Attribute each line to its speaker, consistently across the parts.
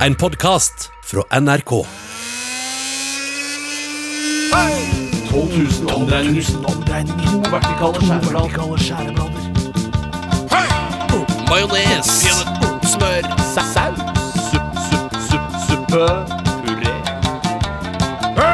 Speaker 1: En podkast fra NRK.
Speaker 2: 12 000 omdreininger. To vertikale skjæreblader.
Speaker 1: Majones. Smør.
Speaker 2: Saus. Supp, supp, supp, suppe. Puré.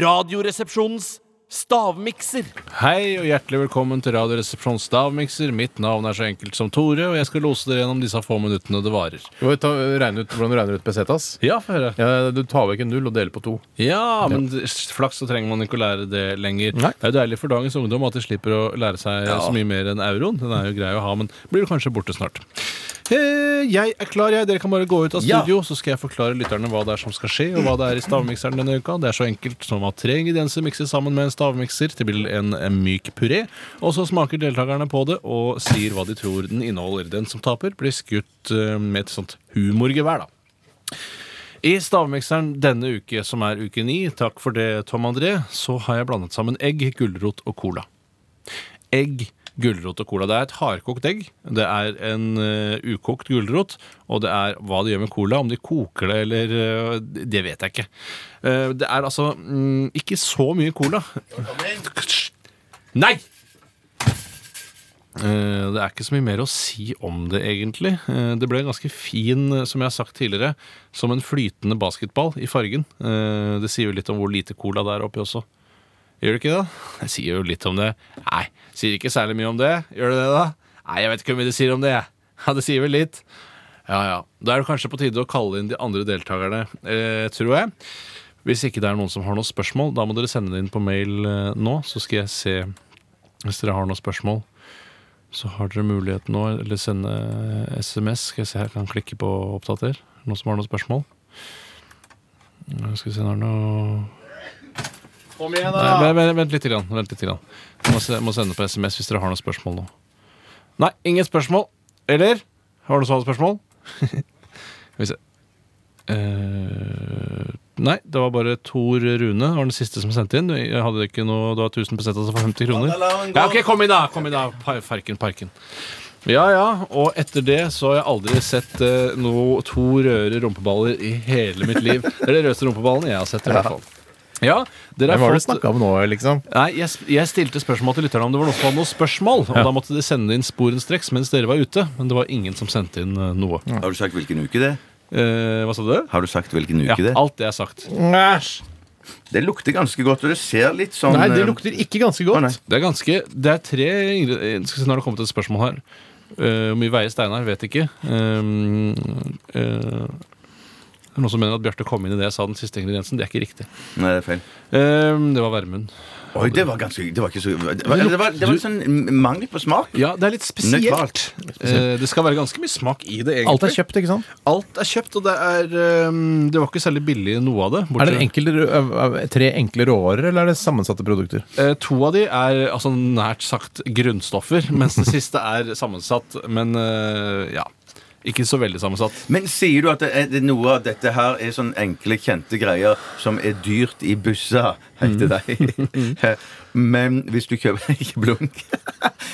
Speaker 2: Radioresepsjonens stavmikser.
Speaker 3: Hei og hjertelig velkommen til Radioresepsjonens stavmikser. Mitt navn er så enkelt som Tore, og jeg skal lose dere gjennom disse få minuttene det varer.
Speaker 4: Du må jo ta, regne ut hvordan du regner ut pesetas.
Speaker 3: Ja, få høre. Ja,
Speaker 4: Ja, du tar vekk en null og deler på to.
Speaker 3: men det- flaks så trenger man ikke å lære det lenger.
Speaker 4: Nei.
Speaker 3: Det er jo deilig for dagens ungdom at de slipper å lære seg så mye mer enn euroen. Den er jo grei å ha, men blir jo kanskje borte snart. Eh, Jeg er klar, jeg. Dere kan bare gå ut av
Speaker 1: Ja.
Speaker 3: studio, så skal jeg forklare lytterne hva det er som skal skje, og hva det er i stavmikseren denne uka. Det er så enkelt som at tre ingredienser mikses sammen med en stavmikser til blir en, en myk puré. Og så smaker deltakerne på det og sier hva de tror den inneholder. Den som taper, blir skutt eh, med et sånt humorgevær, da. I stavmikseren denne uke, som er uke ni, takk for det, Tom André, så har jeg blandet sammen egg, gulrot og cola. Egg, gulrot og cola. Det er et hardkokt egg, det er en eh, ukokt gulrot, og det er hva de gjør med cola, om de koker det eller eh, Det vet jeg ikke. Eh, det er altså mm, ikke så mye cola. Nei! Eh, Det er ikke så mye mer å si om det, egentlig. Eh, Det ble ganske fin, eh, som jeg har sagt tidligere, som en flytende basketball i fargen. Eh, Det sier jo litt om hvor lite cola det er oppi også. Gjør det ikke det? Jeg sier jo litt om det. Nei, sier ikke særlig mye om det. Gjør det det, da? Nei, jeg vet ikke hvor mye det sier om det, jeg. Ja, det sier vel litt. Ja, ja. Da er det kanskje på tide å kalle inn de andre deltakerne, eh, tror jeg. Hvis ikke det er noen som har noen spørsmål, da må dere sende det inn på mail eh, nå, så skal jeg se hvis dere har noen spørsmål så har dere mulighet nå, eller sende eh, SMS. Skal jeg se her, kan jeg klikke på oppdater. Noen som har noen spørsmål? Skal vi se, nå er det noe
Speaker 4: Kom igjen,
Speaker 3: Nei, vent, vent, vent litt. Grann, vent litt grann. Jeg må, se, må sende på SMS hvis dere har noen spørsmål nå. Nei, ingen spørsmål. Eller? Har du sånne spørsmål? Skal vi se. Eh, nei, det var bare Tor Rune. Det var den siste som sendte inn. Jeg hadde ikke noe, det var 1000 pesetas for 50 kroner. Ja, ok, kom inn, da! Kom inn da, Pa- Farken Parken. Ja, ja, og etter det så har jeg aldri sett eh, noe to røde rumpeballer i hele mitt liv. Det er de rødeste rumpeballene jeg har sett, i hvert fall. Ja, dere
Speaker 4: Hvem
Speaker 3: har
Speaker 4: var det du
Speaker 3: fått
Speaker 4: snakka om nå, liksom?
Speaker 3: Nei, jeg, sp- jeg stilte spørsmål til lytterne om det var noen som hadde noen spørsmål. Og da måtte de sende inn sporenstreks mens dere var ute. Men det var ingen som sendte inn eh, noe.
Speaker 5: Har du sagt hvilken uke det? er?
Speaker 3: Eh, hva sa du?
Speaker 5: Har du sagt hvilken uke
Speaker 3: Ja,
Speaker 5: det? er?
Speaker 3: alt det er sagt.
Speaker 4: Æsj!
Speaker 5: Det lukter ganske godt, og det ser litt sånn
Speaker 4: Nei, det
Speaker 5: eh,
Speaker 4: lukter ikke ganske
Speaker 5: å, nei.
Speaker 4: godt.
Speaker 3: Det er ganske Det er tre ingre- eh, Skal vi se, nå har det kommet et spørsmål her. Eh, Hvor mye veier Steinar? Vet ikke. Um, eh, det er noen som mener at Bjarte kom inn i det jeg sa den siste ingrediensen. Det er ikke riktig.
Speaker 5: Nei, det er feil.
Speaker 3: Eh, det var Vermund.
Speaker 5: Oi, det var ganske Det var ikke så Det var, det var, det var en sånn mangel på smak.
Speaker 3: Ja, det er litt
Speaker 5: Nøytralt.
Speaker 3: Eh, det skal være ganske mye smak i det, egentlig.
Speaker 4: Alt er kjøpt, ikke sant?
Speaker 3: Alt er kjøpt, og det er ehm, Det var ikke særlig billig noe av det. bortsett-
Speaker 4: Er det enkle, rø- ø- ø- tre enkle råvarer, eller er det sammensatte produkter?
Speaker 3: Eh, to av de er altså nært sagt grunnstoffer, mens det siste er sammensatt. Men eh, ja. Ikke så veldig sammensatt.
Speaker 5: Men sier du at det er, det er noe av dette her er sånn enkle, kjente greier som er dyrt i busser? Hei til deg. Men hvis du kjøper Ikke blunk.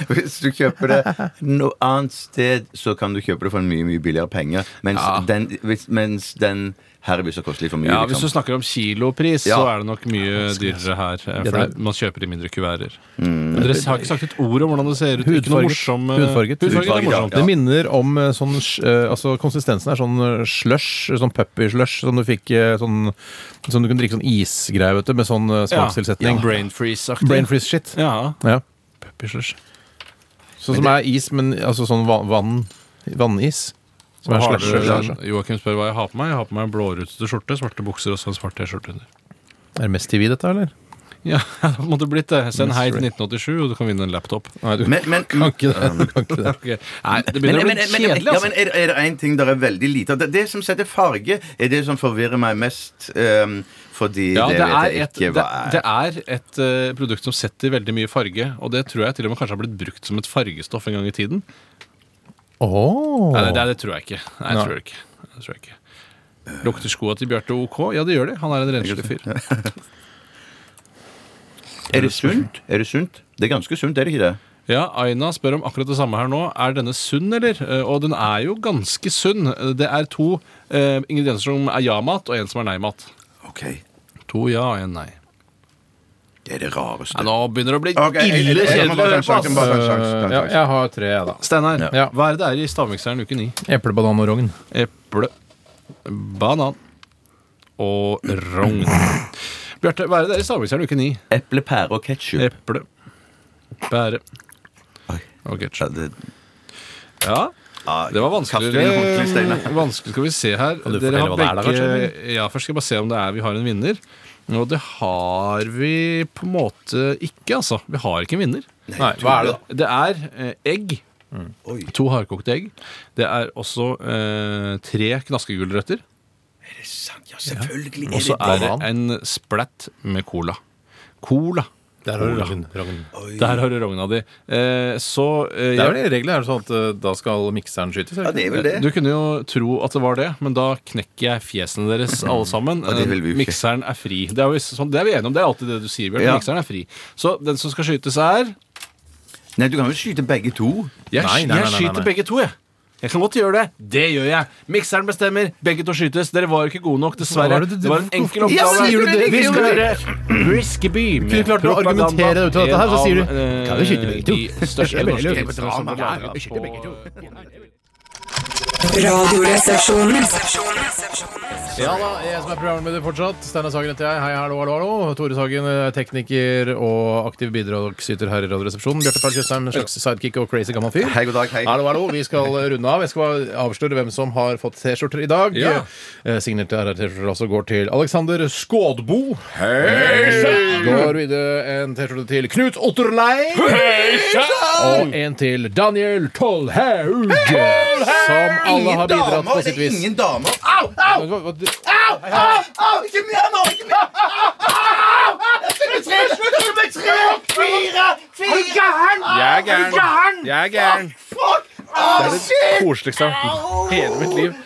Speaker 5: Hvis du kjøper det noe annet sted, så kan du kjøpe det for en mye mye billigere penger. Mens,
Speaker 3: Ja.
Speaker 5: den, hvis, mens den her er så kostelig for mye.
Speaker 3: Ja, Hvis du
Speaker 5: liksom.
Speaker 3: snakker om kilopris,
Speaker 5: Ja.
Speaker 3: så er det nok mye dyrere her. eh,
Speaker 4: Det
Speaker 3: For
Speaker 4: der-
Speaker 3: det- man kjøper i mindre kuverter. Men Dere har ikke sagt et ord om hvordan det ser ut. Ikke
Speaker 4: Mm.
Speaker 3: noe
Speaker 4: Hudfarget.
Speaker 3: morsom, eh,
Speaker 4: Hudfarget.
Speaker 3: Hudfarget er
Speaker 5: Hudfarget, ja.
Speaker 3: morsomt.
Speaker 4: Det minner om eh, sånn sj- eh, Altså, konsistensen er sånn eh, slush, sånn puppy-slush, som du fikk eh, sånn Som du kunne drikke sånn isgreie, vet du, med sånn eh,
Speaker 3: Ja.
Speaker 4: smakstilsetning.
Speaker 3: Brain freeze-aktig.
Speaker 4: Brain freeze-shit.
Speaker 3: Ja.
Speaker 4: Ja.
Speaker 3: Puppy slush.
Speaker 4: Sånn som er is, men altså sånn va- vann, vannis. Som
Speaker 3: Hva
Speaker 4: er
Speaker 3: har
Speaker 4: slasher.
Speaker 3: dere-
Speaker 4: slasher.
Speaker 3: Joakim spør hva jeg har på meg. Jeg har på meg en blårutete skjorte, svarte bukser og så en svart T-skjorte under.
Speaker 4: Er det mest TV, dette, eller?
Speaker 3: Ja, det måtte blitt det. Send hei til
Speaker 4: Mystery.
Speaker 3: 1987, og du kan vinne en laptop.
Speaker 5: Men, men,
Speaker 4: Kan ikke det. Du kan ikke det.
Speaker 3: Ok. Nei, det
Speaker 5: Men,
Speaker 3: begynner
Speaker 5: men, men,
Speaker 3: å bli kjedelig,
Speaker 5: ja,
Speaker 3: altså.
Speaker 5: men er, er det én ting der er veldig lite av? Det, det som setter farge, er det som forvirrer meg mest. ehm, fordi
Speaker 3: Ja,
Speaker 5: det,
Speaker 3: det
Speaker 5: vet
Speaker 3: er
Speaker 5: jeg
Speaker 3: et,
Speaker 5: ikke
Speaker 3: det,
Speaker 5: hva er.
Speaker 3: det er et eh, produkt som setter veldig mye farge, og det tror jeg til og med kanskje har blitt brukt som et fargestoff en gang i tiden.
Speaker 4: Åh.
Speaker 3: Nei, det, det tror jeg ikke. Nei, jeg tror det ikke. Jeg tror jeg ikke. Lukter skoa til Bjarte OK? Ja, det gjør de. Han er en renslig fyr.
Speaker 5: er det sunt? Er det sunt? Det er ganske sunt, er det ikke det?
Speaker 3: Ja, Aina spør om akkurat det samme her nå. Er denne sunn, eller? Eh, Og den er jo ganske sunn. Eh, Det er to eh, ingredienser som er ja-mat, og en som er nei-mat.
Speaker 5: OK.
Speaker 3: To ja og en nei.
Speaker 5: Det er det rareste.
Speaker 3: Nei, nå begynner det å bli
Speaker 5: Ok, jeg- jeg- jeg-
Speaker 3: ille
Speaker 5: jeg- jeg
Speaker 3: kjedelig
Speaker 5: må
Speaker 3: å
Speaker 5: bare ta
Speaker 3: høre
Speaker 5: en
Speaker 3: på.
Speaker 5: sjanse, bare
Speaker 3: ass.
Speaker 5: ta en sjanse, ta en
Speaker 4: ja,
Speaker 5: sjanse.
Speaker 4: jeg har tre, jeg, da.
Speaker 3: Steinar,
Speaker 4: Ja.
Speaker 3: hva er det det er i stavmikseren uke ni?
Speaker 4: Eple, banan og rogn.
Speaker 3: Eple, banan og rogn. Bjarte, hva er det det er i stavmikseren uke ni?
Speaker 5: Eple, pære og ketsjup.
Speaker 3: Eple, bære
Speaker 5: Oi.
Speaker 3: og
Speaker 5: Ja,
Speaker 3: ketsjup.
Speaker 5: det-
Speaker 3: Ja.
Speaker 5: ja,
Speaker 3: Det var
Speaker 5: kaster vi en håndkle i
Speaker 3: vanskeligere.
Speaker 5: steinen.
Speaker 3: Vanskelig skal vi se her.
Speaker 4: du fortelle hva det er da, kanskje,
Speaker 3: Ja, Først skal jeg bare se om det er vi har en vinner. Og det har vi på en måte ikke, altså. Vi har ikke en vinner.
Speaker 4: Nei, hva er det, da? Mm.
Speaker 3: Det er eh, egg. To hardkokte egg. Det er også eh, tre knaskegulrøtter.
Speaker 5: Er det sant? Ja, selvfølgelig
Speaker 3: Og så
Speaker 5: er
Speaker 3: er
Speaker 5: det
Speaker 3: det
Speaker 4: banan?
Speaker 3: en splatt med cola. Cola.
Speaker 4: Der har du rogn. rogn.
Speaker 3: Der har du rogna di. Eh, så eh,
Speaker 4: Det er
Speaker 3: jeg,
Speaker 4: vel i regelen er det sånn at eh, da skal mikseren skytes?
Speaker 5: Ja,
Speaker 4: eller?
Speaker 5: det er vel det.
Speaker 3: Du kunne jo tro at det var det, men da knekker jeg fjesene deres alle sammen.
Speaker 5: Ja, det vil vi jo ikke.
Speaker 3: Mikseren er fri. Det er, jo sånn, det er vi enige om. Det er alltid det du sier, Bjørn.
Speaker 5: Ja.
Speaker 3: Mikseren er fri. Så den som skal skytes, er
Speaker 5: Nei, du kan jo skyte begge to.
Speaker 3: Jeg,
Speaker 4: Nei, nei, nei,
Speaker 3: jeg
Speaker 4: nei,
Speaker 3: skyter
Speaker 4: nei.
Speaker 3: begge to, jeg. Jeg kan godt gjøre det. Det gjør jeg. Mikseren bestemmer. Begge to skytes. Dere var jo ikke gode nok, dessverre.
Speaker 4: Hva var det du-
Speaker 3: Det var en enkel
Speaker 4: Hvorfor-
Speaker 3: oppgave.
Speaker 4: Ja, sier du det?
Speaker 3: Vi
Speaker 4: Ikke
Speaker 3: skal
Speaker 4: gjorde
Speaker 3: høre Riskeby
Speaker 4: Kunne du klart å argumentere deg ut av dette her, så sier du, kan du skyte begge to?
Speaker 3: eh, De største
Speaker 4: Jeg er veldig lurt.
Speaker 3: norske hitsene som ble
Speaker 5: Ja, ja,
Speaker 3: laget
Speaker 4: skyte
Speaker 3: på-
Speaker 4: begge
Speaker 6: Radioresepsjonen.
Speaker 4: Ja da, jeg som er programleder fortsatt. Steinar Sagen heter jeg. Hei, hallo, hallo, hallo. Tore Sagen, eh, tekniker og aktiv bidragsyter her i Radioresepsjonen. Bjarte Perl Tjøstheim, en slags sidekick og crazy gammel fyr.
Speaker 5: Hei, god dag, hei.
Speaker 4: Hallo, hallo. Vi skal eh, runde av. Jeg skal bare avsløre hvem som har fått T-skjorter i dag.
Speaker 3: Ja.
Speaker 4: Eh, Signerte RR-T-skjorter også går til Alexander Skådbo. Hei! Går videre en T-skjorte til Knut Otterlei. Og en til Daniel Tollhaug. Som alle har bidratt på sitt vis.
Speaker 5: Ingen damer.
Speaker 4: Hva- hva- hva-
Speaker 5: Au, ikke mer nå! Ikke mer!
Speaker 3: Jeg er gæren. Jeg er gæren.
Speaker 5: Ah,
Speaker 3: Det er det koseligste jeg har hørt i hele mitt liv.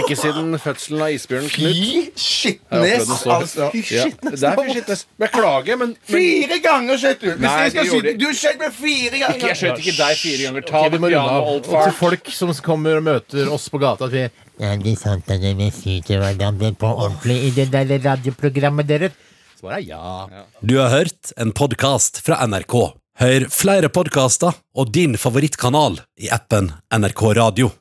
Speaker 3: Ikke siden fødselen av isbjørnen Knut.
Speaker 5: Fy
Speaker 3: har jeg opplevd
Speaker 5: skitnes.
Speaker 3: noe så-
Speaker 5: Altså, fy
Speaker 3: Ja.
Speaker 5: skitnes.
Speaker 3: Det er fy skitnes. Beklager, men, men
Speaker 5: Fire ganger skjøt du! Hvis
Speaker 3: Nei,
Speaker 5: jeg skal
Speaker 3: det gjorde
Speaker 5: skyte,
Speaker 3: jeg.
Speaker 5: du skjøt meg fire ganger!
Speaker 3: jeg skjøt ikke deg fire ganger. Ta
Speaker 4: Ok, vi
Speaker 3: det
Speaker 4: må runde
Speaker 3: piano,
Speaker 4: av.
Speaker 3: old
Speaker 4: Og til
Speaker 3: far.
Speaker 4: folk som kommer og møter oss på gata at vi
Speaker 7: Er det sant at dere skyter hverandre på ordentlig i det der radioprogrammet deres?
Speaker 4: svarer ja.
Speaker 1: Du har hørt en podcast fra NRK. Hør flere podcaster og din favorittkanal i appen NRK Radio.